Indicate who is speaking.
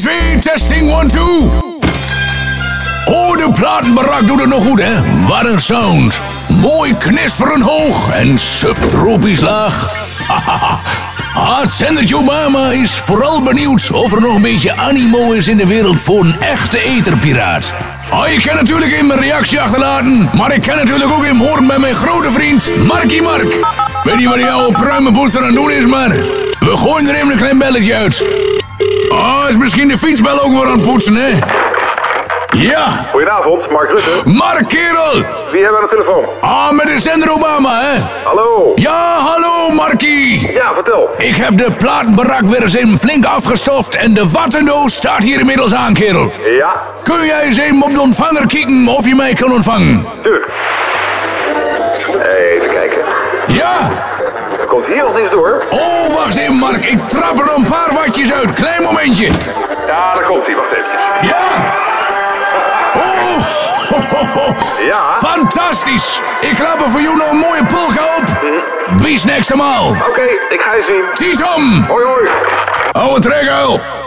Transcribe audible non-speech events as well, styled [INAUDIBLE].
Speaker 1: twee, testing, one, two. Oh, de platenbarak doet het nog goed, hè? Wat een sound. Mooi knisperend hoog en subtropisch laag. [LAUGHS] Ah, het zendertje Obama is vooral benieuwd of er nog een beetje animo is in de wereld voor een echte eterpiraat. Ah, je kan natuurlijk in mijn reactie achterlaten, maar ik kan natuurlijk ook in horen bij mijn grote vriend Markie Mark. Weet je wat die oude pruimenboester aan het doen is, maar we gooien er even een klein belletje uit. Ah, is misschien de fietsbel ook weer aan het poetsen, hè? Ja,
Speaker 2: Goedenavond, Mark Rutte.
Speaker 1: Mark Kerel!
Speaker 2: Wie hebben we aan de telefoon?
Speaker 1: Ah, met de zender Obama, hè?
Speaker 2: Hallo.
Speaker 1: Ja, hallo Markie!
Speaker 2: Ja, vertel.
Speaker 1: Ik heb de platenbarak weer eens even flink afgestoft en de wattendoos staat hier inmiddels aan, kerel.
Speaker 2: Ja,
Speaker 1: Kun jij eens even op de ontvanger kijken of je mij kan ontvangen?
Speaker 2: tuurlijk. Even kijken.
Speaker 1: Ja?
Speaker 2: Er komt hier nog niks door.
Speaker 1: Oh, wacht even, Mark. Ik trap er een paar watjes uit. Klein momentje.
Speaker 2: Ja, daar komt hij. Wacht eventjes.
Speaker 1: Ja? Oh, ho, ho, ho.
Speaker 2: Ja.
Speaker 1: Fantastisch. Ik klap er voor jou nog een mooie polka op. Bis next maal.
Speaker 2: Oké, ik ga je zien.
Speaker 1: Titom,
Speaker 2: Hoi, hoi.
Speaker 1: oude trekhuil.